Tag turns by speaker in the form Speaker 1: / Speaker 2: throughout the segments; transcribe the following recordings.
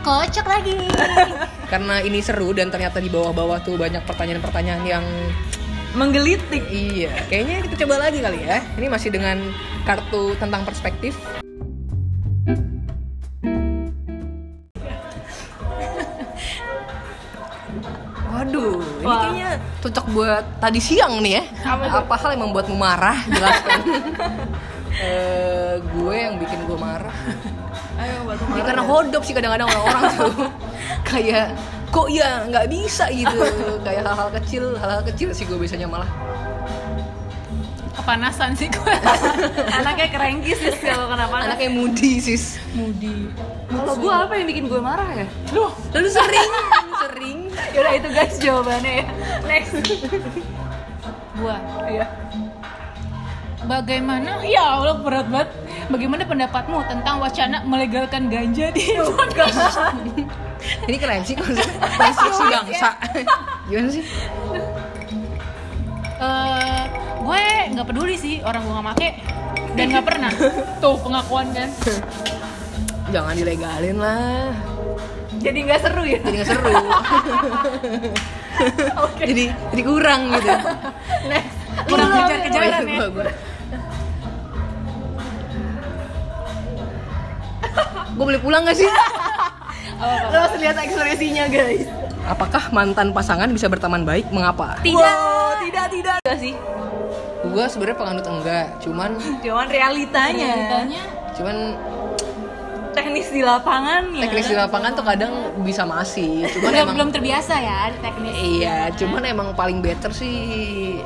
Speaker 1: kocok lagi.
Speaker 2: Karena ini seru dan ternyata di bawah-bawah tuh banyak pertanyaan-pertanyaan yang
Speaker 3: Menggelitik.
Speaker 2: iya. Kayaknya kita coba lagi kali ya. Ini masih dengan kartu tentang perspektif. Waduh, ini
Speaker 3: Wah.
Speaker 2: kayaknya cocok buat tadi siang nih ya. Apa hal yang membuatmu marah? Jelaskan. Eh, gue yang bikin gue marah.
Speaker 3: Ayo batu
Speaker 2: Ya,
Speaker 3: marah.
Speaker 2: karena hodop sih kadang-kadang orang-orang tuh kayak kok ya nggak bisa gitu kayak hal-hal kecil hal-hal kecil sih gue biasanya malah
Speaker 1: Kepanasan sih gue.
Speaker 3: Anaknya kerengki sih kalau kenapa
Speaker 2: anaknya moody sis
Speaker 3: mudi. Kalau gue apa yang bikin gue marah ya? Loh,
Speaker 2: lalu sering sering
Speaker 3: yaudah itu guys jawabannya ya. Next.
Speaker 1: Gua.
Speaker 3: Iya.
Speaker 1: Bagaimana? Ya Allah berat banget. Bagaimana pendapatmu tentang wacana melegalkan ganja di
Speaker 3: Oh,
Speaker 1: Indonesia?
Speaker 2: ini keren sih konsep- konstruksi bangsa gimana sih
Speaker 1: Eh, gue nggak peduli sih orang gue nggak make dan nggak pernah. Tuh pengakuan kan.
Speaker 2: jangan dilegalin lah
Speaker 3: Jadi nggak seru ya?
Speaker 2: jadi nggak seru jadi jadi kurang gitu
Speaker 3: Next.
Speaker 1: Kurang
Speaker 3: Lu apa
Speaker 1: kejar-kejaran
Speaker 3: yang-
Speaker 1: ya.
Speaker 2: Gua- gua- gue boleh pulang gak sih
Speaker 3: Lo harus lihat ekspresinya guys.
Speaker 2: Apakah mantan pasangan bisa berteman baik? Mengapa?
Speaker 3: Tidak. tidak, tidak. Enggak sih.
Speaker 2: Gue sebenarnya penganut enggak, cuman
Speaker 3: Cuman realitanya.
Speaker 1: Ceritanya
Speaker 2: cuman
Speaker 3: Teknis di lapangannya.
Speaker 2: teknis di lapangan tuh kadang bisa masih. Cuman
Speaker 1: belum
Speaker 2: emang
Speaker 1: belum terbiasa ya di teknis.
Speaker 2: iya, cuman emang paling better sih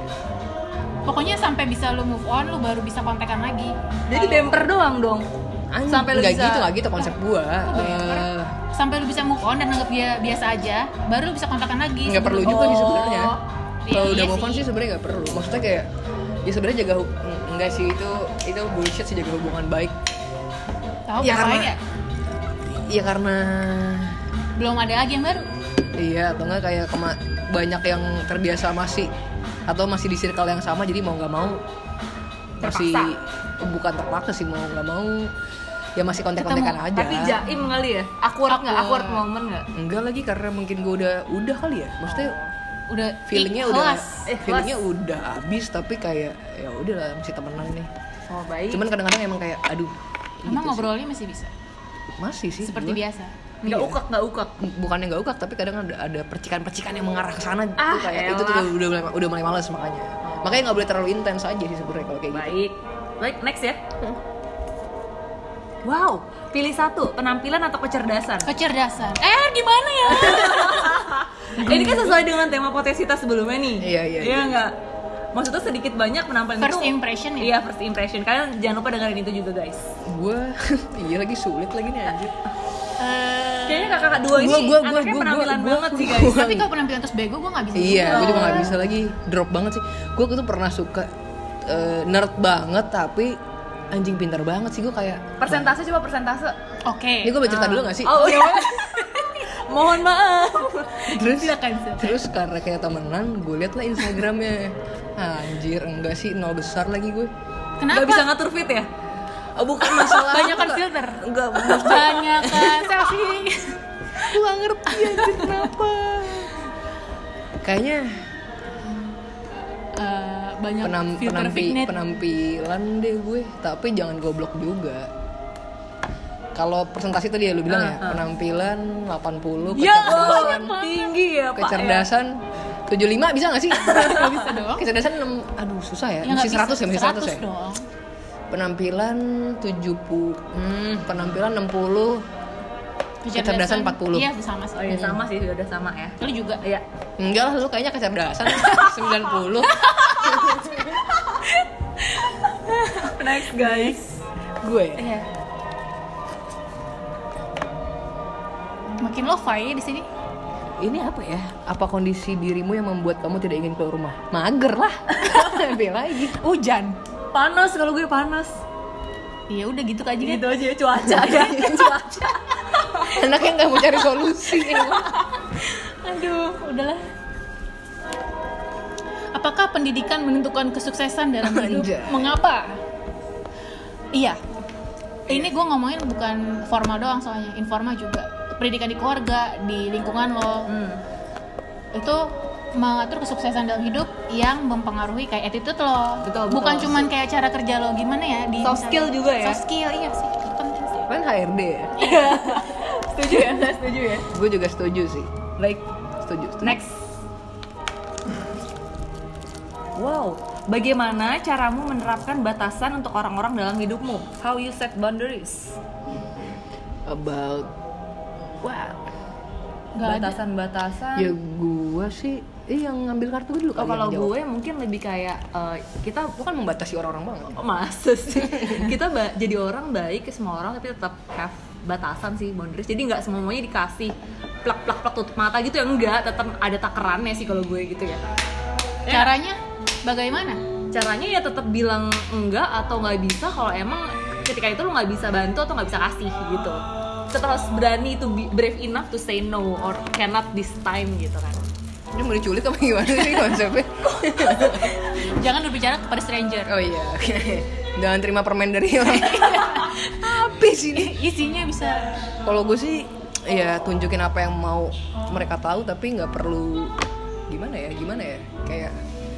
Speaker 1: Pokoknya sampai bisa lu move on, lu baru bisa kontekan lagi.
Speaker 3: Jadi bemper doang dong.
Speaker 2: anj-
Speaker 3: Sampai lu
Speaker 2: nggak
Speaker 3: bisa-
Speaker 2: gitu nggak gitu konsep gue.
Speaker 1: Sampai lu bisa move on dan anggap dia biasa aja, baru lu bisa kontekan lagi.
Speaker 2: Nggak perlu juga sih sebenarnya.
Speaker 3: Oh.
Speaker 1: Iya
Speaker 2: Kalau udah move on
Speaker 1: sih.
Speaker 2: Iya, sih sebenarnya nggak perlu. Maksudnya kayak ya sebenarnya jaga hu- enggak sih itu itu bullshit sih jaga hubungan baik.
Speaker 1: Tahu
Speaker 2: Ya,
Speaker 1: ngapain
Speaker 2: karena-
Speaker 1: ya?
Speaker 2: Iya karena
Speaker 1: Belum ada lagi yang baru.
Speaker 2: Iya, atau enggak kayak kema- banyak yang terbiasa masih atau masih di circle yang sama jadi mau nggak mau masih bukan terpaksa sih mau nggak mau ya masih kontek-kontekan aja.
Speaker 3: Tapi jaim kali ya. Awkward nggak? Awkward moment nggak?
Speaker 2: Enggak lagi karena mungkin gue udah udah kali ya. Maksudnya
Speaker 1: Udah
Speaker 2: feelingnya
Speaker 1: Oh. ikhlas.
Speaker 2: udah gitu eh,
Speaker 3: Ikhlas.
Speaker 2: feelingnya udah habis tapi kayak ya udahlah masih temenan nih.
Speaker 3: Oh baik.
Speaker 2: Cuman kadang-kadang emang kayak aduh
Speaker 1: Emang
Speaker 2: gitu sih.
Speaker 1: ngobrolnya masih bisa.
Speaker 2: masih sih
Speaker 1: Seperti
Speaker 2: gua.
Speaker 1: biasa.
Speaker 3: nggak ukak nggak ukak.
Speaker 2: bukannya nggak ukak tapi kadang ada ada percikan-percikan yang mengarah ke sana gitu
Speaker 3: Ah,
Speaker 2: kayak itu tuh
Speaker 3: elah.
Speaker 2: udah udah mulai, udah mulai males makanya makanya nggak boleh terlalu intens aja sih sebenarnya kalau kayak gitu
Speaker 3: Baik. Baik next ya. Wow, pilih satu, penampilan atau kecerdasan?
Speaker 1: Kecerdasan. Eh, gimana ya?
Speaker 3: Ini kan sesuai dengan tema potensitas sebelumnya nih.
Speaker 2: Iya, iya,
Speaker 3: Iya
Speaker 2: iya.
Speaker 3: nggak? Maksudnya sedikit banyak penampilan
Speaker 1: First
Speaker 3: itu.
Speaker 1: impression ya?
Speaker 3: Iya first impression. Kalian jangan lupa dengerin itu juga guys.
Speaker 2: gue iya lagi sulit lagi nih anjir
Speaker 1: Eh,
Speaker 3: Kayaknya kakak-kakak dua ini
Speaker 2: Gua- gua- gua-
Speaker 3: anaknya
Speaker 2: gua-
Speaker 3: penampilan
Speaker 2: gua-
Speaker 3: banget
Speaker 2: gua-
Speaker 3: sih guys.
Speaker 2: gua-
Speaker 1: tapi kalau penampilan terus bego gue nggak bisa.
Speaker 2: iya
Speaker 1: juga.
Speaker 2: gue juga nggak bisa lagi drop banget sih gue tuh pernah suka eh, nerd banget tapi anjing pintar banget sih gue kayak
Speaker 3: Persentase coba persentase.
Speaker 1: Oke.
Speaker 2: ini gue bercerita dulu gak sih
Speaker 3: Oh iya. Mohon maaf.
Speaker 2: terus
Speaker 1: Silakan, silakan.
Speaker 2: terus karena kayak temenan gue liat lah instagramnya anjir enggak sih nol besar lagi gue
Speaker 3: Gak
Speaker 1: Kenapa?
Speaker 3: bisa ngatur fit ya?
Speaker 2: Oh, bukan masalah
Speaker 1: Banyak
Speaker 2: apa.
Speaker 1: filter.
Speaker 2: enggak
Speaker 1: Banyak kan selfie.
Speaker 2: gue gak ngerti anjir kenapa kayaknya
Speaker 1: Eh, banyak
Speaker 2: penam,
Speaker 1: filter
Speaker 2: penampi,
Speaker 1: fitnet.
Speaker 2: penampilan deh gue tapi jangan goblok juga kalau presentasi tadi ya lu bilang ya penampilan 80
Speaker 3: Ya,
Speaker 2: kecerdasan
Speaker 3: tinggi ya pak.
Speaker 2: kecerdasan 75 bisa gak sih?
Speaker 1: Nggak bisa dong.
Speaker 2: kecerdasan 6 aduh susah ya,
Speaker 1: Ya, nggak
Speaker 2: mesti
Speaker 1: bisa.
Speaker 2: 100 ya, mesti 100, ya.
Speaker 1: dong.
Speaker 2: Penampilan 70, hmm, penampilan 60, kecerdasan 40.
Speaker 1: Iya, sama sih.
Speaker 3: Oh iya sama sih udah sama ya.
Speaker 1: Lu juga.
Speaker 3: Iya.
Speaker 2: Enggak lah, lu kayaknya kecerdasan 90.
Speaker 3: Next guys.
Speaker 2: gue.
Speaker 1: Iya. Makin lo-fi ya di sini.
Speaker 2: Ini apa ya? Apa kondisi dirimu yang membuat kamu tidak ingin keluar rumah? Mager lah. Lebih lagi.
Speaker 1: Hujan.
Speaker 3: Panas kalau gue panas.
Speaker 1: Ya udah gitu aja kan.
Speaker 3: Gitu aja ya, cuaca ya. cuaca.
Speaker 2: Anaknya nggak mau cari solusi. emang.
Speaker 1: Aduh, udahlah. Apakah pendidikan menentukan kesuksesan dalam hidup?
Speaker 2: Anjay. Iya.
Speaker 1: Mengapa? Iya. Ini gue ngomongin bukan formal doang soalnya, informal juga. pendidikan di keluarga, di lingkungan lo,
Speaker 3: Hmm.
Speaker 1: itu mengatur kesuksesan dalam hidup yang mempengaruhi kayak attitude lo.
Speaker 3: Betul, betul.
Speaker 1: Bukan cuman kayak cara kerja lo gimana ya di
Speaker 3: Soft skill juga ya?
Speaker 1: Soft skill iya sih, itu penting sih.
Speaker 2: kan HRD ya
Speaker 3: Setuju ya? Nggak setuju ya?
Speaker 2: gue juga setuju sih
Speaker 3: Baik,
Speaker 2: setuju, setuju.
Speaker 3: next. Wow, bagaimana caramu menerapkan batasan untuk orang-orang dalam hidupmu? How you set boundaries?
Speaker 2: about wow
Speaker 1: Nggak ada.
Speaker 3: Batasan-batasan.
Speaker 2: ya gua sih eh, yang ngambil kartu dulu
Speaker 3: Oh,
Speaker 2: kali
Speaker 3: kalau
Speaker 2: yang jawab.
Speaker 3: gue mungkin lebih kayak eh, kita
Speaker 2: Gua kan membatasi orang-orang banget
Speaker 3: Oh, masa sih kita ba- jadi orang baik ke semua orang tapi tetap have batasan sih boundaries jadi nggak semuanya dikasih plak plak plak tutup mata gitu ya enggak tetap ada takerannya sih kalau gue gitu ya
Speaker 1: Caranya bagaimana?
Speaker 3: caranya ya tetap bilang enggak atau nggak bisa kalau emang ketika itu lo nggak bisa bantu atau nggak bisa kasih gitu tetap harus berani to be brave enough to say no or cannot this time gitu kan
Speaker 2: ini mau diculik apa gimana sih konsepnya
Speaker 1: Jangan berbicara kepada stranger.
Speaker 2: oh iya oke jangan terima permen dari orang apa sih ini
Speaker 1: Isinya bisa
Speaker 2: kalau gue sih ya tunjukin apa yang mau mereka tahu tapi nggak perlu gimana ya gimana ya kayak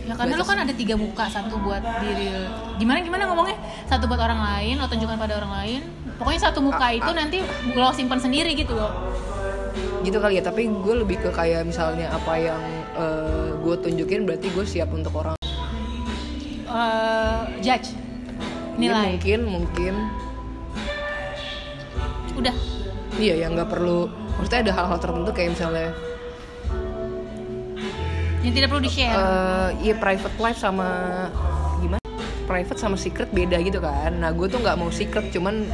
Speaker 1: Ya karena lo kan ada tiga muka, satu buat diri gimana gimana ngomongnya, satu buat orang lain, lo tunjukkan pada orang lain. Pokoknya satu muka itu nanti lo simpan sendiri gitu loh.
Speaker 2: gitu kali ya tapi gue lebih ke kayak misalnya apa yang gue tunjukin berarti gue siap untuk orang
Speaker 1: Eh, judge
Speaker 2: Jadi
Speaker 1: nilai.
Speaker 2: Ya
Speaker 3: Iya,
Speaker 2: mungkin mungkin
Speaker 1: Udah.
Speaker 2: Iya, yang nggak perlu. Maksudnya ada hal-hal tertentu kayak misalnya,
Speaker 1: Yang tidak perlu di-share.
Speaker 2: eh iya private life sama gimana? Private sama secret beda gitu kan. Nah, gue tuh nggak mau secret, cuman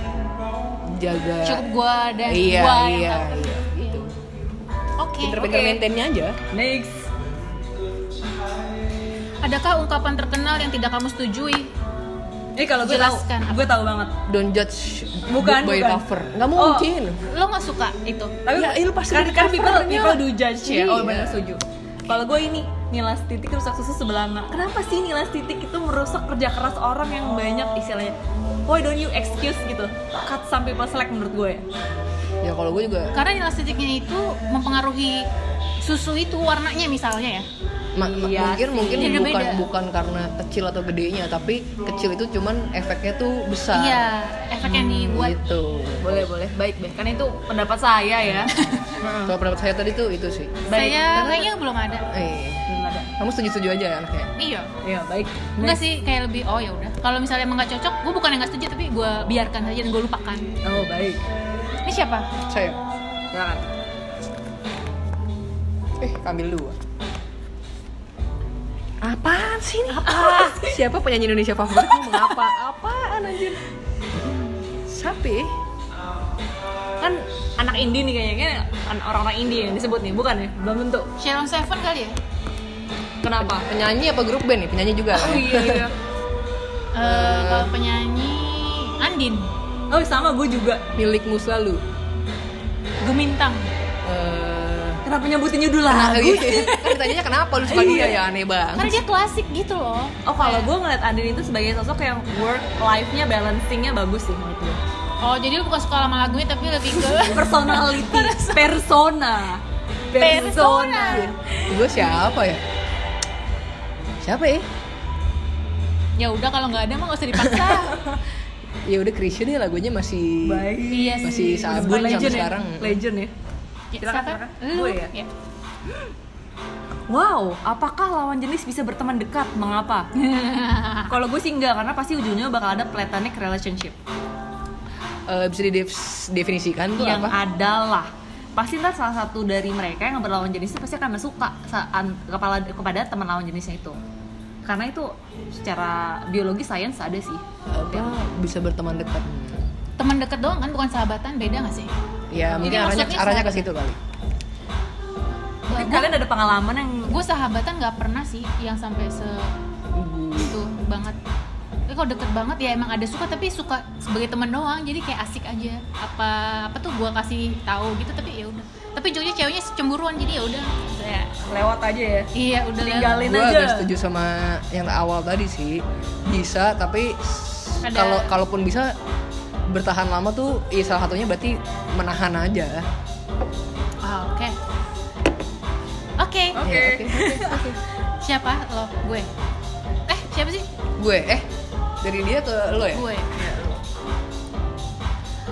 Speaker 2: jaga.
Speaker 1: Cukup gua dan
Speaker 2: iya,
Speaker 1: gua yang
Speaker 2: iya,
Speaker 1: tahu.
Speaker 2: iya, gitu.
Speaker 1: Oke.
Speaker 2: Pinter-pinter
Speaker 3: oke.
Speaker 2: maintainnya aja.
Speaker 3: next
Speaker 1: Adakah ungkapan terkenal yang tidak kamu setujui?
Speaker 3: eh kalau gue tahu
Speaker 1: Jelaskan apa?
Speaker 3: gue tahu banget
Speaker 2: Don't judge book
Speaker 3: Bukan,
Speaker 2: by
Speaker 3: bukan.
Speaker 2: cover. Nggak
Speaker 3: Oh.
Speaker 2: mungkin.
Speaker 1: Lo nggak suka itu?
Speaker 3: tapi
Speaker 2: Ya, iya, lu pasti
Speaker 3: kan,
Speaker 2: ada
Speaker 3: kan people,
Speaker 2: covernya.
Speaker 3: people do judge ya
Speaker 2: Iya.
Speaker 3: oh benar setuju kalau gue ini nilas titik rusak susu sebelah anak kenapa sih nilas titik itu merusak kerja keras orang yang banyak istilahnya why don't you excuse gitu cut some people slack menurut gue
Speaker 2: Ya kalau gue juga
Speaker 1: Karena nilai titiknya itu mempengaruhi susu itu warnanya misalnya ya.
Speaker 2: Ma- ma- mungkin
Speaker 3: Iya sih.
Speaker 2: mungkin
Speaker 1: Beda-beda.
Speaker 2: bukan bukan karena kecil atau gedenya, tapi kecil itu cuman efeknya tuh besar.
Speaker 1: Iya, efek yang dibuat.
Speaker 2: Gitu.
Speaker 3: boleh boleh baik deh karena itu pendapat saya ya Heeh.
Speaker 2: Kalau pendapat saya tadi tuh itu sih.
Speaker 3: Baik,
Speaker 1: Saya
Speaker 3: karena-
Speaker 1: kayaknya belum ada.
Speaker 2: Eh,
Speaker 3: Belum ada.
Speaker 2: kamu setuju-setuju aja ya anaknya?
Speaker 1: Iya.
Speaker 3: Iya baik
Speaker 1: Enggak sih, kayak lebih oh ya udah. Kalau misalnya emang nggak cocok, gue bukan yang nggak setuju, tapi gue biarkan aja dan gue lupakan.
Speaker 3: oh baik
Speaker 1: Ini siapa?
Speaker 2: Saya.
Speaker 3: silakan
Speaker 2: Eh, Kamil dua. Apaan sih ini? Apa? Siapa penyanyi Indonesia favorit? Mengapa? Apaan anjir? Sapi?
Speaker 3: kan anak indie nih kayaknya Kayaknya kan orang-orang indie yang disebut nih bukan ya belum bentuk
Speaker 1: Sharon Seven kali ya?
Speaker 3: kenapa
Speaker 2: Penyanyi apa grup band nih? Penyanyi juga. kan?
Speaker 3: oh iya, iya.
Speaker 1: Eh, kalau penyanyi Andin,
Speaker 3: oh sama gue juga
Speaker 2: Milikmu selalu.
Speaker 1: Gemintang.
Speaker 2: Eh,
Speaker 3: Kenapa nyebutin judul
Speaker 2: nah,
Speaker 3: lagu?
Speaker 2: iya. kan ditanyanya kenapa lu suka dia ya aneh banget.
Speaker 1: Karena dia klasik gitu loh.
Speaker 3: Oh kalau gue ngeliat Andin itu sebagai sosok yang work life-nya balancing-nya bagus sih menurut gue
Speaker 1: Oh, jadi lu bukan suka sama lagunya tapi lebih ke
Speaker 3: Personality, persona
Speaker 1: Persona.
Speaker 2: Gue siapa ya? Siapa ya?
Speaker 1: ya udah kalau nggak ada mah nggak usah dipaksa.
Speaker 2: Ya udah Chrisye deh lagunya masih
Speaker 3: Baik
Speaker 1: iya sih.
Speaker 2: masih sabun sampai
Speaker 3: Legend ya,
Speaker 2: sekarang.
Speaker 3: legend ya
Speaker 1: Ya,
Speaker 3: Silakan,
Speaker 1: siapa?
Speaker 3: silakan.
Speaker 1: Lu
Speaker 3: Gue ya?
Speaker 1: ya.
Speaker 3: Wow, apakah lawan jenis bisa berteman dekat? Mengapa? kalau gue sih enggak, karena pasti ujungnya bakal ada platonic relationship
Speaker 2: Eh, bisa didefinisikan tuh
Speaker 3: Yang
Speaker 2: apa?
Speaker 3: adalah Pasti ntar salah satu dari mereka yang berlawan jenis itu pasti akan suka saan- kepala kepada teman lawan jenisnya itu Karena itu secara biologi sains ada sih
Speaker 2: apa Eh, bisa berteman dekat
Speaker 1: Teman deket doang kan bukan sahabatan, beda nggak sih?
Speaker 2: ya mungkin
Speaker 1: Jadi
Speaker 2: arahnya
Speaker 1: maksudnya
Speaker 2: arahnya ke
Speaker 1: sahabat.
Speaker 2: situ kali
Speaker 3: Kalian ada pengalaman yang
Speaker 1: Gue sahabatan nggak pernah sih yang sampai se itu banget. Tapi kalau deket banget ya emang ada suka tapi suka sebagai teman doang jadi kayak asik aja apa apa tuh gue kasih tahu gitu tapi ya udah tapi jauhnya ceweknya cemburuan jadi ya udah saya
Speaker 3: lewat aja ya?
Speaker 1: iya udah lah.
Speaker 3: Tinggalin
Speaker 2: gue
Speaker 3: aja.
Speaker 2: agak setuju sama yang awal tadi sih bisa tapi s-
Speaker 1: Ada-
Speaker 2: kalau kalaupun bisa bertahan lama tuh ya salah satunya berarti menahan aja
Speaker 1: Ah, Oke.
Speaker 3: Oke.
Speaker 2: Ya, oke, oke, oke.
Speaker 1: Siapa? Lo, gue. Eh, siapa sih?
Speaker 2: gue eh dari dia ke lo ya
Speaker 1: Gue.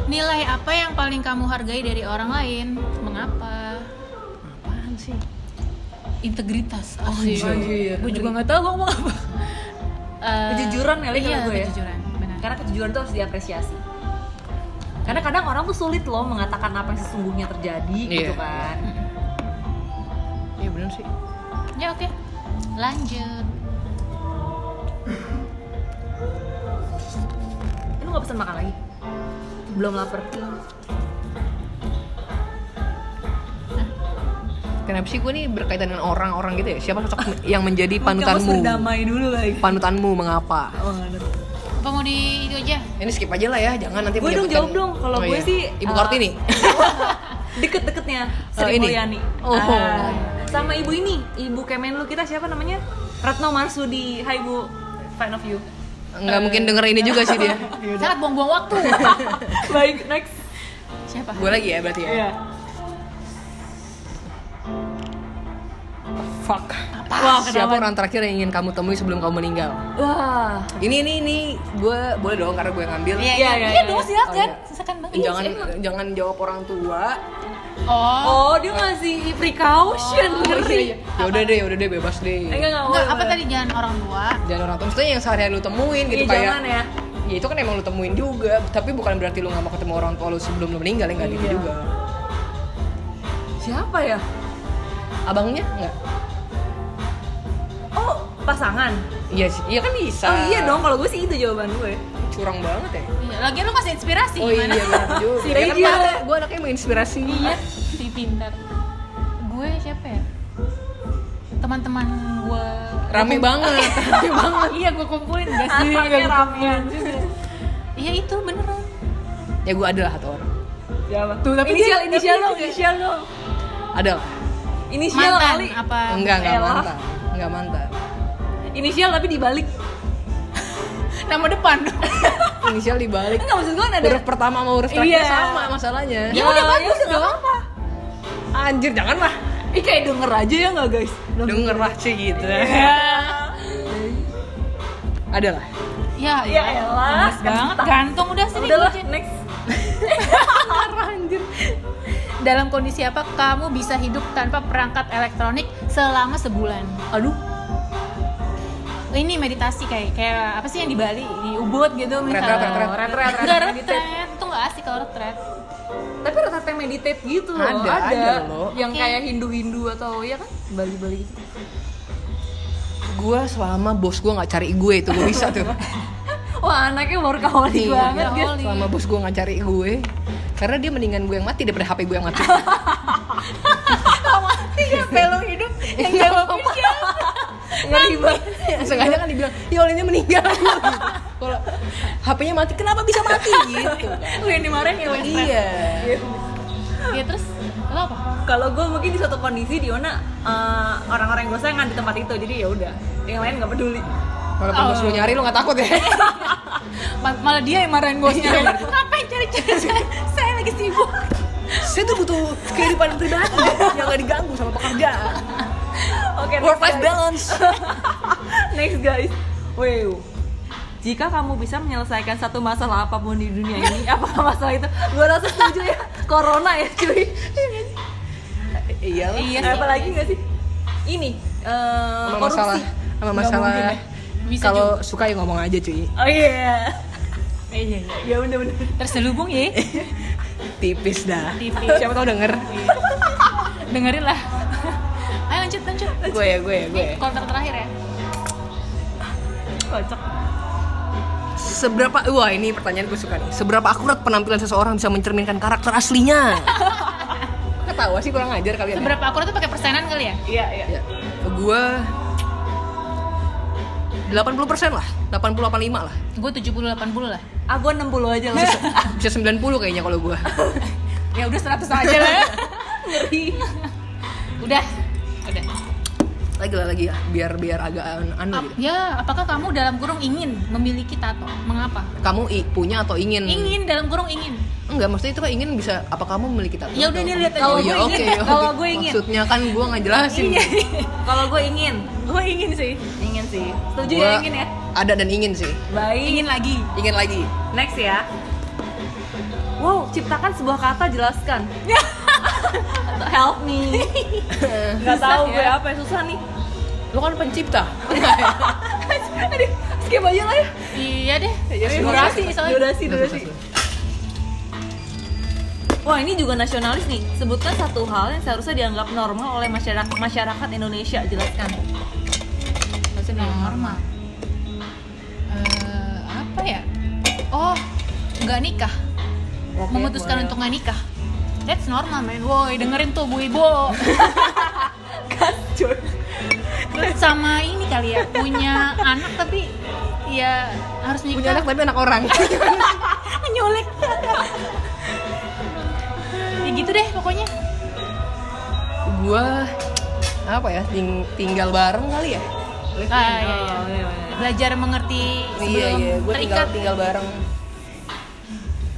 Speaker 1: Nilai apa yang paling kamu hargai dari orang lain? Mengapa?
Speaker 2: apaan sih
Speaker 1: Integritas. asik.
Speaker 2: Anjir.
Speaker 3: iya.
Speaker 2: Anjir.
Speaker 1: Gue juga nggak tahu ngomong apa. Eh,
Speaker 3: Kejujuran kali kalau
Speaker 1: iya,
Speaker 3: gue ya.
Speaker 1: kejujuran. Benar.
Speaker 3: Karena kejujuran tuh harus diapresiasi. Karena kadang orang tuh sulit loh mengatakan apa yang sesungguhnya terjadi gitu
Speaker 2: Iya.
Speaker 3: kan.
Speaker 2: iya bener sih
Speaker 1: Ya oke. Lanjut.
Speaker 3: Ini Eh, lu gak pesan makan lagi? Belum lapar.
Speaker 2: kenapa sih gue nih berkaitan dengan orang-orang gitu ya siapa sosok yang menjadi
Speaker 3: Kamu harus
Speaker 2: panutanmu
Speaker 3: berdamai dulu lagi.
Speaker 2: panutanmu mengapa
Speaker 3: Oh, aduh.
Speaker 1: Apa mau di itu aja?
Speaker 2: ini skip aja lah ya jangan nanti
Speaker 3: Gue dong
Speaker 2: menyebutkan-
Speaker 3: jawab dong, kalau
Speaker 2: Oh,
Speaker 3: gue
Speaker 2: iya.
Speaker 3: sih
Speaker 2: ibu
Speaker 3: eh,
Speaker 2: kartini
Speaker 3: Deket-deketnya
Speaker 2: Oh,
Speaker 3: Sri
Speaker 2: ini?
Speaker 3: Mulyani.
Speaker 2: Oh.
Speaker 3: Ah. Sama ibu ini, ibu Kemenlu kita siapa namanya? Retno Marsudi. Hai Bu, fan of you.
Speaker 2: nggak
Speaker 3: eh,
Speaker 2: mungkin denger ini juga sih dia
Speaker 1: Sangat buang-buang waktu.
Speaker 3: Baik, next.
Speaker 1: siapa?
Speaker 2: gue lagi ya berarti ya
Speaker 3: Iya.
Speaker 2: fuck
Speaker 3: Wah,
Speaker 2: siapa
Speaker 3: kenapa?
Speaker 2: orang terakhir yang ingin kamu temui sebelum kamu meninggal
Speaker 3: Wah.
Speaker 2: ini ini ini gue boleh dong karena gue ngambil
Speaker 1: Iya,
Speaker 3: Iya,
Speaker 1: iya,
Speaker 3: iya,
Speaker 1: iya,
Speaker 3: iya.
Speaker 1: dong silakan.
Speaker 2: Oh, iya.
Speaker 1: Silakan banget.
Speaker 2: jangan jangan jawab orang tua
Speaker 1: Oh.
Speaker 3: Oh, dia ngasih precaution. Ngeri.
Speaker 2: ya udah deh ya udah deh bebas deh
Speaker 3: Eh, Enggak, enggak,
Speaker 1: Enggak,
Speaker 3: boleh,
Speaker 1: apa
Speaker 3: boleh.
Speaker 1: tadi jangan orang tua.
Speaker 2: jangan orang tua maksudnya yang sehari-hari lu temuin gitu
Speaker 3: Iya,
Speaker 2: kayak
Speaker 3: jangan ya.
Speaker 2: ya itu kan emang lu temuin juga tapi bukan berarti lu nggak mau ketemu orang tua lu sebelum lu meninggal ya nggak gitu
Speaker 3: Iya.
Speaker 2: juga
Speaker 3: Siapa ya?
Speaker 2: abangnya nggak
Speaker 3: Oh, pasangan.
Speaker 2: iya sih iya kan bisa
Speaker 3: Oh iya dong, kalau gue sih itu jawaban gue.
Speaker 2: curang banget ya
Speaker 1: Iya, Lagian lu kasih inspirasi
Speaker 2: oh iya
Speaker 1: gimana?
Speaker 2: benar juga
Speaker 3: Si
Speaker 2: ya kan
Speaker 3: Tejo.
Speaker 2: gue anaknya- gue anaknya menginspirasi
Speaker 1: Iya, si pintar. Gue siapa ya? Teman-teman gue
Speaker 2: rame
Speaker 3: Iya.
Speaker 2: banget rame banget
Speaker 1: iya gue kumpulin gak sih?
Speaker 3: Anaknya ramean juga.
Speaker 1: Iya itu beneran.
Speaker 2: ya gue adalah satu orang
Speaker 3: Siapa?
Speaker 2: Tuh, tapi
Speaker 3: inisial,
Speaker 2: dia-
Speaker 3: inisial
Speaker 2: tapi
Speaker 3: dong,
Speaker 2: dia-
Speaker 3: inisial dong.
Speaker 2: adalah
Speaker 3: Inisial
Speaker 1: Mantan
Speaker 3: kali.
Speaker 1: apa?
Speaker 2: enggak enggak
Speaker 3: Ah, Elah.
Speaker 2: mantan enggak mantan
Speaker 3: Inisial tapi dibalik.
Speaker 1: Nama depan.
Speaker 2: inisial dibalik
Speaker 3: Enggak maksud gue ada.
Speaker 2: huruf pertama sama huruf terakhir
Speaker 3: Iya.
Speaker 2: sama masalahnya
Speaker 1: ya udah bagus
Speaker 3: nggak
Speaker 1: dong.
Speaker 3: apa-apa.
Speaker 2: anjir janganlah
Speaker 3: Ih kayak denger aja ya nggak guys?
Speaker 2: denger lah sih gitu adalah
Speaker 1: Ya,
Speaker 3: Ya elah,
Speaker 1: Lemes banget. Gantung udah sini.
Speaker 3: Udahlah,
Speaker 1: kucing.
Speaker 3: next.
Speaker 1: Dalam kondisi apa kamu bisa hidup tanpa perangkat elektronik selama sebulan?
Speaker 2: aduh
Speaker 1: Ini meditasi kayak kayak apa sih yang di Bali di Ubud gitu misalnya.
Speaker 2: Retret, retret.
Speaker 3: Retret, retret.
Speaker 1: Nggak,
Speaker 3: Meditate.
Speaker 1: retret. Itu nggak asik kalau retret.
Speaker 3: Tapi rata-rata meditate gitu loh,
Speaker 2: Ada, ada loh.
Speaker 3: Yang
Speaker 1: Oke.
Speaker 3: kayak Hindu-Hindu atau ya kan? Bali-Bali gitu.
Speaker 2: gue selama bos gue nggak cari gue itu gue bisa tuh
Speaker 3: Wah anaknya workaholic
Speaker 2: Iya.
Speaker 3: banget dia.
Speaker 1: Workaholic.
Speaker 2: selama bos gue nggak cari gue karena dia mendingan gue yang mati daripada hp gue yang mati
Speaker 3: Pelo hidup yang
Speaker 2: Iya,
Speaker 3: jawabin siapa? Ngeri banget.
Speaker 2: sengaja kan dibilang ya oleh ini meninggal gitu. kalau hpnya mati kenapa bisa mati gitu
Speaker 3: Lu yang dimarahin ya Wes.
Speaker 2: iya
Speaker 1: Ya terus lo apa?
Speaker 3: Kalau gue mungkin di suatu kondisi Diona eh, orang-orang yang gue sayang ada di tempat itu jadi ya udah yang lain nggak peduli.
Speaker 2: walaupun bos lu nyari lu nggak takut ya
Speaker 1: Ma- malah dia yang marahin bosnya Iya. ngapain cari-cari saya, saya lagi sibuk
Speaker 2: saya tuh butuh kehidupan pribadi yang gak diganggu sama pekerjaan
Speaker 3: Oke. next,
Speaker 2: work life
Speaker 3: guys.
Speaker 2: balance
Speaker 3: Next guys. Wow. Jika kamu bisa menyelesaikan satu masalah apapun di dunia ini, apakah masalah itu? Gue rasa setuju ya, corona ya cuy.
Speaker 2: iya lah.
Speaker 1: Iya sih.
Speaker 3: Apa lagi nggak sih? Ini eh,
Speaker 2: sama
Speaker 3: korupsi.
Speaker 2: masalah sama
Speaker 3: Nggak
Speaker 2: masalah
Speaker 3: mungkin ya.
Speaker 1: Bisa
Speaker 2: kalau suka ya ngomong aja cuy
Speaker 3: Oh iya.
Speaker 1: iya iya iya.
Speaker 3: Ya bener-bener.
Speaker 1: terselubung ya
Speaker 3: iya?
Speaker 2: tipis dah
Speaker 1: Tipis.
Speaker 2: siapa tau denger
Speaker 1: dengerin lah ayo lanjut lanjut
Speaker 2: gue ya gue ya gue ya.
Speaker 1: konter terakhir ya
Speaker 3: Kocok.
Speaker 2: Seberapa wah ini pertanyaan gue suka nih. Seberapa akurat penampilan seseorang bisa mencerminkan karakter aslinya? Ketawa sih kurang ajar ya. kalian.
Speaker 1: seberapa akurat tuh pakai persenan kali ya
Speaker 3: Iya, iya.
Speaker 2: Ya, gue 80% lah, 80-85 lah.
Speaker 1: gue 70 80 lah
Speaker 3: Ah, gua 60 aja lah.
Speaker 2: Bisa 90 kayaknya kalau gue.
Speaker 1: ya udah 100 aja lah
Speaker 3: Ngeri.
Speaker 1: udah udah
Speaker 2: lagi lah lagi ya. biar biar agak an- anu
Speaker 1: Ap-
Speaker 2: gitu.
Speaker 1: ya, apakah kamu dalam kurung ingin memiliki tato? Mengapa?
Speaker 2: Kamu i- punya atau ingin?
Speaker 1: Ingin dalam kurung ingin.
Speaker 2: Enggak, maksudnya itu kan ingin bisa apa kamu memiliki tato?
Speaker 1: Ya udah,
Speaker 2: Atau-
Speaker 1: nih, lihat aja.
Speaker 2: Oh
Speaker 1: Kalau
Speaker 2: iya,
Speaker 1: gue
Speaker 2: oke.
Speaker 1: ingin. Iya,
Speaker 2: oke.
Speaker 3: Kalau gue ingin.
Speaker 2: Maksudnya kan gue nggak jelasin.
Speaker 3: Kalau gue ingin,
Speaker 1: Gue ingin sih.
Speaker 3: ingin sih. Setuju
Speaker 2: Gua
Speaker 3: ya ingin ya?
Speaker 2: Ada dan ingin sih.
Speaker 3: Baik.
Speaker 1: Ingin lagi.
Speaker 2: Ingin lagi.
Speaker 3: Next ya. Wow, ciptakan sebuah kata jelaskan. Help me.
Speaker 1: Susah
Speaker 3: Gak tahu
Speaker 1: ya.
Speaker 3: gue apa yang susah nih.
Speaker 2: Lo kan pencipta.
Speaker 3: Aduh, skip aja lah ya.
Speaker 1: Iya deh.
Speaker 3: Ya,
Speaker 2: Durasi,
Speaker 3: durasi,
Speaker 1: soalnya.
Speaker 3: durasi,
Speaker 2: iya,
Speaker 3: durasi. Wah ini juga nasionalis nih. Sebutkan satu hal yang seharusnya dianggap normal oleh masyarakat masyarakat Indonesia. Jelaskan.
Speaker 1: Maksudnya normal. Eh, apa ya? Oh, nggak nikah.
Speaker 2: Oke,
Speaker 1: Memutuskan
Speaker 2: boleh.
Speaker 1: untuk nggak nikah. That's normal, man. Woi, dengerin tuh Bu Ibu.
Speaker 3: Cuy.
Speaker 1: Terus sama ini kali ya, punya anak tapi ya harus nikah.
Speaker 2: Punya anak tapi anak orang.
Speaker 1: nyolek ya gitu deh pokoknya
Speaker 2: gue apa ya? ting- tinggal bareng kali ya.
Speaker 1: Ah, iya, iya.
Speaker 3: Oh, iya, iya.
Speaker 1: belajar mengerti sebelum
Speaker 2: Gue Iya, tinggal
Speaker 1: terikat
Speaker 2: tinggal bareng.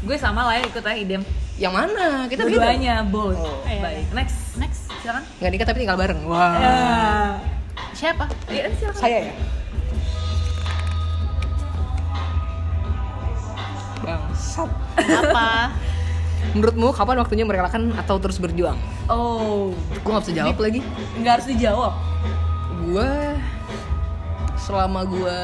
Speaker 3: Gue sama lah ya ikut aja idem.
Speaker 2: Yang mana? Kita begitu.
Speaker 3: Keduanya both. Iya,
Speaker 2: Oh.
Speaker 3: Baik. Next.
Speaker 1: next
Speaker 3: Silakan.
Speaker 2: Nggak nikah tapi tinggal bareng. Wah.
Speaker 3: Ya.
Speaker 1: Iya. siapa
Speaker 3: Iya, silakan.
Speaker 2: Saya ya. Bangsat.
Speaker 1: apa
Speaker 2: Menurutmu kapan waktunya merelakan atau terus berjuang?
Speaker 3: Oh,
Speaker 2: Gue nggak bisa jawab lagi.
Speaker 3: nggak harus dijawab.
Speaker 2: Gue selama gue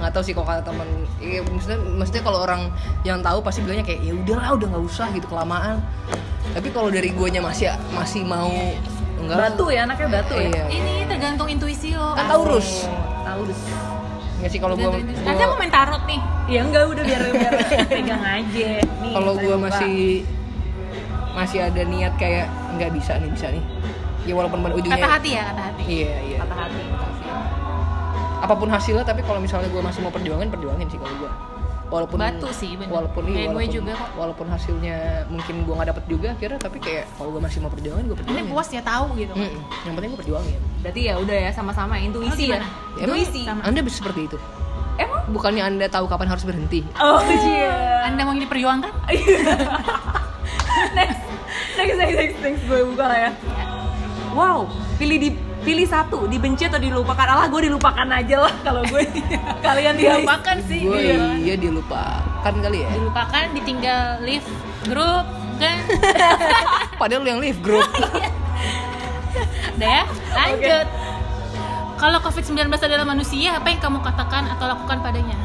Speaker 2: nggak tahu sih kok kata teman ya, maksudnya maksudnya kalau orang yang tahu pasti bilangnya kayak ya udahlah udah nggak usah gitu kelamaan tapi kalau dari guanya masih masih mau enggak
Speaker 3: Batu ya, anaknya batu ya.
Speaker 2: Iya.
Speaker 1: ini tergantung intuisi lo
Speaker 2: kan taurus
Speaker 3: Taurus.
Speaker 2: nggak sih kalau gue
Speaker 1: Tergantung intuisi. nanti aku main tarot nih
Speaker 3: Ya enggak udah biar biar pegang aja. Nih,
Speaker 2: kalau
Speaker 3: saya
Speaker 2: gue
Speaker 3: buka.
Speaker 2: masih masih ada niat kayak nggak bisa nih bisa nih ya walaupun pada ujungnya
Speaker 1: kata hati ya kata hati
Speaker 2: iya iya
Speaker 3: patah hati.
Speaker 2: apapun hasilnya tapi kalau misalnya gue masih mau perjuangin perjuangin sih kalau gue walaupun
Speaker 1: Batu sih, bener.
Speaker 2: walaupun iya,
Speaker 1: Kayak gue
Speaker 2: walaupun,
Speaker 1: juga kok.
Speaker 2: walaupun hasilnya mungkin gue nggak dapet juga akhirnya tapi kayak kalau gue masih mau perjuangin gue
Speaker 1: ini
Speaker 2: perjuangin
Speaker 1: puas ya tahu gitu
Speaker 2: Mm-mm. yang penting gue perjuangin
Speaker 3: Berarti ya udah ya sama-sama
Speaker 1: Oh,
Speaker 3: intuisi ya.
Speaker 1: gimana?
Speaker 2: emang
Speaker 3: Intuisi.
Speaker 1: Sama.
Speaker 2: anda bisa seperti itu
Speaker 3: Emang?
Speaker 2: bukannya anda tahu kapan harus berhenti
Speaker 3: Oh iya.
Speaker 1: anda mau diperjuangkan
Speaker 3: next, next, next, next, next. Gue buka lah ya. Wow, pilih di pilih satu dibenci atau dilupakan Allah gue dilupakan aja lah kalau gue kalian
Speaker 1: dilupakan
Speaker 3: dilupakan
Speaker 1: sih
Speaker 2: gue
Speaker 1: iya.
Speaker 2: iya dilupakan kali ya
Speaker 1: dilupakan ditinggal live grup kan
Speaker 2: padahal lu yang leave group
Speaker 1: udah ya lanjut kalau covid 19 adalah manusia apa yang kamu katakan atau lakukan padanya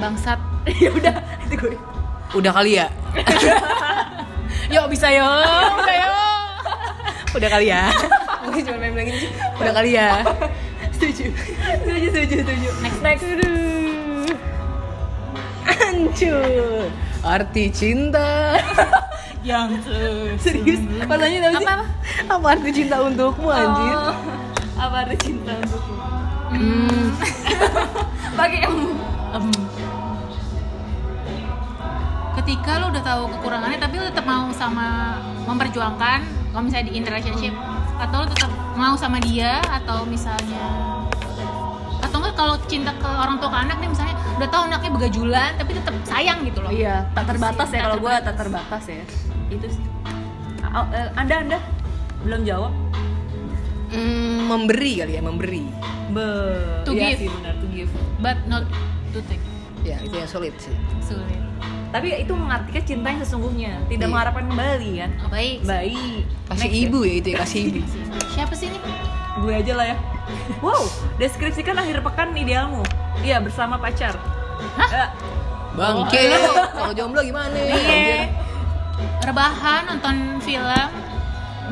Speaker 1: bangsat
Speaker 3: ya udah itu gue
Speaker 2: udah kali ya
Speaker 1: Yuk bisa yo, bisa yo.
Speaker 2: udah kali ya mungkin cuma main bilangin sih udah kali ya
Speaker 3: setuju setuju setuju setuju next next Aduh.
Speaker 2: hancur arti cinta
Speaker 1: Yang terus.
Speaker 2: serius pertanyaan apa sih
Speaker 1: Apa, apa?
Speaker 2: apa arti cinta untukmu anjir
Speaker 3: Oh, apa ada cinta untukku
Speaker 2: hmm.
Speaker 3: pakai em
Speaker 1: Ketika lo udah tahu kekurangannya tapi lo tetap mau sama memperjuangkan kalau misalnya di in relationship atau lo tetap mau sama dia atau misalnya atau enggak kalau cinta ke orang tua ke anak nih misalnya udah tahu anaknya begajulan tapi tetap sayang gitu loh.
Speaker 3: iya tak terbatas ya
Speaker 1: Tak
Speaker 3: kalau gue tak terbatas ya itu sih Oh, eh, anda anda belum jawab
Speaker 2: Hmm, memberi kali ya memberi
Speaker 3: Be
Speaker 1: To
Speaker 3: iya
Speaker 1: give.
Speaker 3: sih benar to give
Speaker 1: But not to take.
Speaker 2: ya itu yang sulit sih
Speaker 1: Sulit.
Speaker 3: tapi itu mengartikan cinta yang sesungguhnya tidak
Speaker 2: Iya.
Speaker 3: mengharapkan kembali kan
Speaker 1: Oh, baik.
Speaker 3: baik
Speaker 2: kasih
Speaker 3: Next ya.
Speaker 2: ibu ya itu ya kasih ibu
Speaker 1: Siapa sih ini?
Speaker 3: gue aja lah ya wow deskripsikan akhir pekan idealmu iya bersama pacar Hah? Oh,
Speaker 2: bangke
Speaker 3: iya.
Speaker 2: kalau jomblo gimana Anjir.
Speaker 1: Iya. Rebahan, nonton film,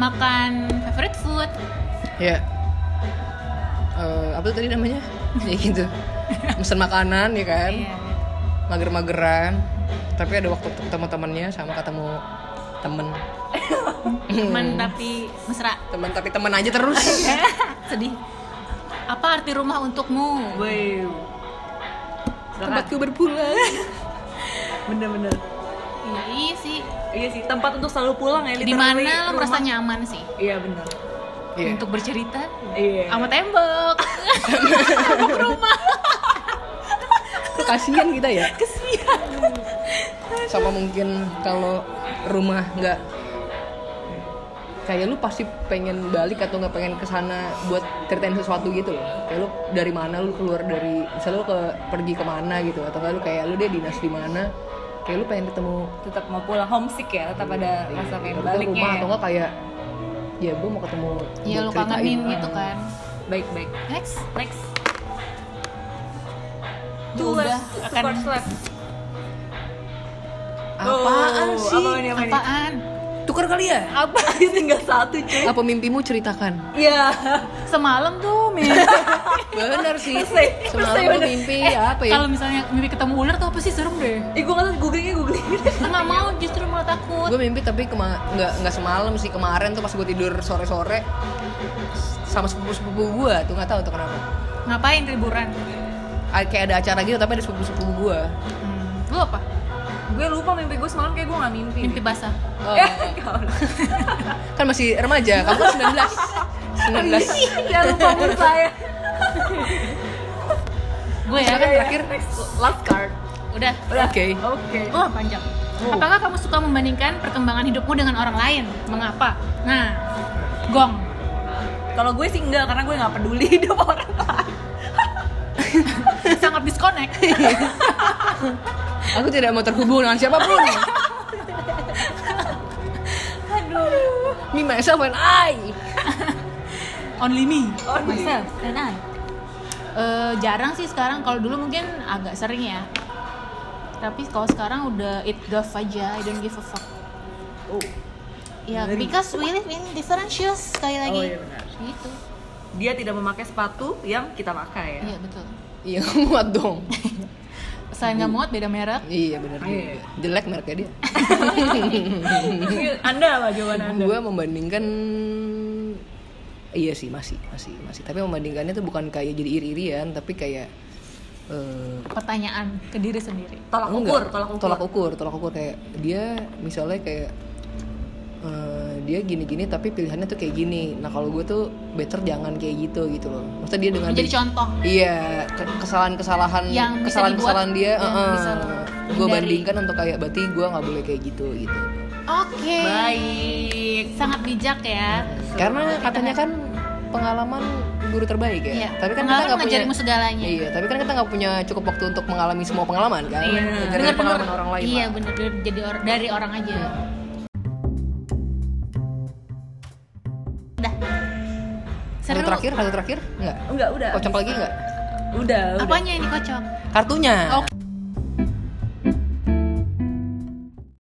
Speaker 1: makan favorite food.
Speaker 2: ya Eh, apa tuh tadi namanya ya gitu mesen makanan ya kan
Speaker 1: Iya.
Speaker 2: mager-mageran tapi ada waktu ketemu temannya sama ketemu temen
Speaker 1: Teman tapi mesra.
Speaker 2: teman tapi teman aja terus
Speaker 1: Sedih. Apa arti rumah untukmu?
Speaker 3: wow Silakan.
Speaker 2: tempatku berpulang
Speaker 3: bener-bener
Speaker 1: Iya, iya sih.
Speaker 3: iya sih tempat untuk selalu pulang ya
Speaker 1: Di
Speaker 3: literally.
Speaker 1: mana lo
Speaker 3: Rumah.
Speaker 1: merasa nyaman sih?
Speaker 3: iya bener
Speaker 2: Iya.
Speaker 1: untuk bercerita
Speaker 3: Iya.
Speaker 1: sama tembok tembok rumah
Speaker 2: kasihan kita ya
Speaker 3: Kesian.
Speaker 2: sama mungkin kalau rumah nggak kayak lu pasti pengen balik atau nggak pengen kesana buat ceritain sesuatu gitu loh kayak lu dari mana lu keluar dari misalnya lu ke pergi kemana gitu atau nggak lu kayak lu deh dinas di mana kayak lu pengen ketemu
Speaker 3: Tetap mau pulang homesick ya, tetap ada
Speaker 1: Iya.
Speaker 3: rasa pengen
Speaker 2: Tapi ke
Speaker 3: baliknya.
Speaker 2: gitu, rumah
Speaker 3: ya.
Speaker 2: atau nggak kayak ya gue mau ketemu
Speaker 1: ya
Speaker 2: buat
Speaker 1: lu
Speaker 2: ceritain.
Speaker 1: kangenin gitu kan
Speaker 3: Baik-baik.
Speaker 1: next
Speaker 3: Next.
Speaker 1: Ya
Speaker 3: Two
Speaker 1: udah, akan
Speaker 3: left, super slap.
Speaker 2: apaan
Speaker 3: Oh,
Speaker 2: sih
Speaker 3: apaan ya?
Speaker 1: apaan
Speaker 2: tukar kali ya Eh?
Speaker 3: Apa? Tinggal satu cuy.
Speaker 2: apa mimpimu ceritakan
Speaker 3: Iya.
Speaker 1: semalam tuh mimpi
Speaker 2: bener sih
Speaker 3: Persis, persis
Speaker 2: semalam lu
Speaker 3: bener.
Speaker 2: mimpi apa ya
Speaker 1: Eh, kalau misalnya mimpi ketemu ular tuh apa sih serem deh
Speaker 3: Ih gue Eh, nggak tahu googlingnya googling.
Speaker 1: nggak mau justru malah takut
Speaker 2: gue mimpi tapi kema- nggak nggak semalam sih kemarin tuh pas gue tidur sore sore sama sepupu sepupu gue tuh nggak tahu tuh kenapa
Speaker 1: ngapain liburan
Speaker 2: A- kayak ada acara gitu tapi ada sepupu sepupu gue
Speaker 1: hmm. lu apa
Speaker 3: gue lupa mimpi gue semalam kayak gue nggak mimpi.
Speaker 1: mimpi basah
Speaker 2: Oh.
Speaker 3: Eh, kau.
Speaker 2: kan masih remaja kamu kan 19 19
Speaker 3: Ya lupa mood saya.
Speaker 1: gue ya kan
Speaker 2: terakhir.
Speaker 3: Next, last card.
Speaker 1: udah
Speaker 2: oke
Speaker 3: Oke.
Speaker 1: Oh, panjang. Apakah kamu suka membandingkan perkembangan hidupmu dengan orang lain? Mengapa? Nah, gong.
Speaker 3: Kalau gue sih enggak karena gue nggak peduli hidup orang lain.
Speaker 1: Sangat disconnect.
Speaker 2: aku tidak mau terhubung dengan siapapun
Speaker 3: Aduh.
Speaker 2: me myself and I
Speaker 1: Only me.
Speaker 3: Only.
Speaker 1: Myself and I. Eh, jarang sih sekarang. Kalau dulu mungkin agak sering ya. Tapi kalau sekarang udah it gov aja. I don't give a fuck.
Speaker 3: Oh.
Speaker 1: Ya,
Speaker 3: Ngeri.
Speaker 1: because we live in different shoes sekali lagi.
Speaker 3: Oh, iya benar.
Speaker 1: Gitu.
Speaker 3: Dia tidak memakai sepatu yang kita pakai ya.
Speaker 1: Iya, betul.
Speaker 2: iya muat dong
Speaker 1: Saya nggak muat beda merek.
Speaker 2: iya bener
Speaker 3: Iya.
Speaker 2: juga. jelek mereknya dia
Speaker 3: anda apa jawaban anda?
Speaker 2: gue membandingkan iya sih masih masih masih tapi membandingkannya tuh bukan kayak jadi iri-irian tapi kayak eh,
Speaker 1: Pertanyaan ke diri sendiri.
Speaker 3: Tolak
Speaker 2: enggak,
Speaker 3: ukur, tolak ukur.
Speaker 2: tolak ukur tolak ukur kayak dia misalnya kayak eh, dia gini-gini tapi pilihannya tuh kayak gini nah kalau gue tuh better jangan kayak gitu gitu loh maksudnya dia dengan
Speaker 1: Menjadi contoh.
Speaker 2: Iya, ke- kesalahan-kesalahan
Speaker 1: Yang bisa
Speaker 2: kesalahan-kesalahan
Speaker 1: dibuat,
Speaker 2: dia,
Speaker 1: yang bisa lo
Speaker 2: gue
Speaker 1: hindari.
Speaker 2: bandingkan untuk kayak berarti gue nggak boleh kayak gitu gitu.
Speaker 1: Oke.
Speaker 3: Baik.
Speaker 1: Sangat bijak ya.
Speaker 2: Karena katanya kan pengalaman guru terbaik ya.
Speaker 1: Iya.
Speaker 2: Tapi kan
Speaker 1: Pengalaman
Speaker 2: kita nggak punya
Speaker 1: mengajarimu segalanya.
Speaker 2: Iya, tapi kan kita nggak punya cukup waktu untuk mengalami semua pengalaman kan.
Speaker 3: Iya.
Speaker 2: Dari
Speaker 1: Dengar-dengar.
Speaker 2: pengalaman orang lain.
Speaker 1: Iya,
Speaker 2: lah.
Speaker 1: bener bener. jadi or- dari orang aja. Udah. Seru.
Speaker 2: Satu terakhir, satu terakhir, enggak.
Speaker 3: Enggak, udah.
Speaker 2: Kocok lagi nggak?
Speaker 3: Udah, udah.
Speaker 1: Apanya ini kocok?
Speaker 2: Kartunya.
Speaker 1: Oke.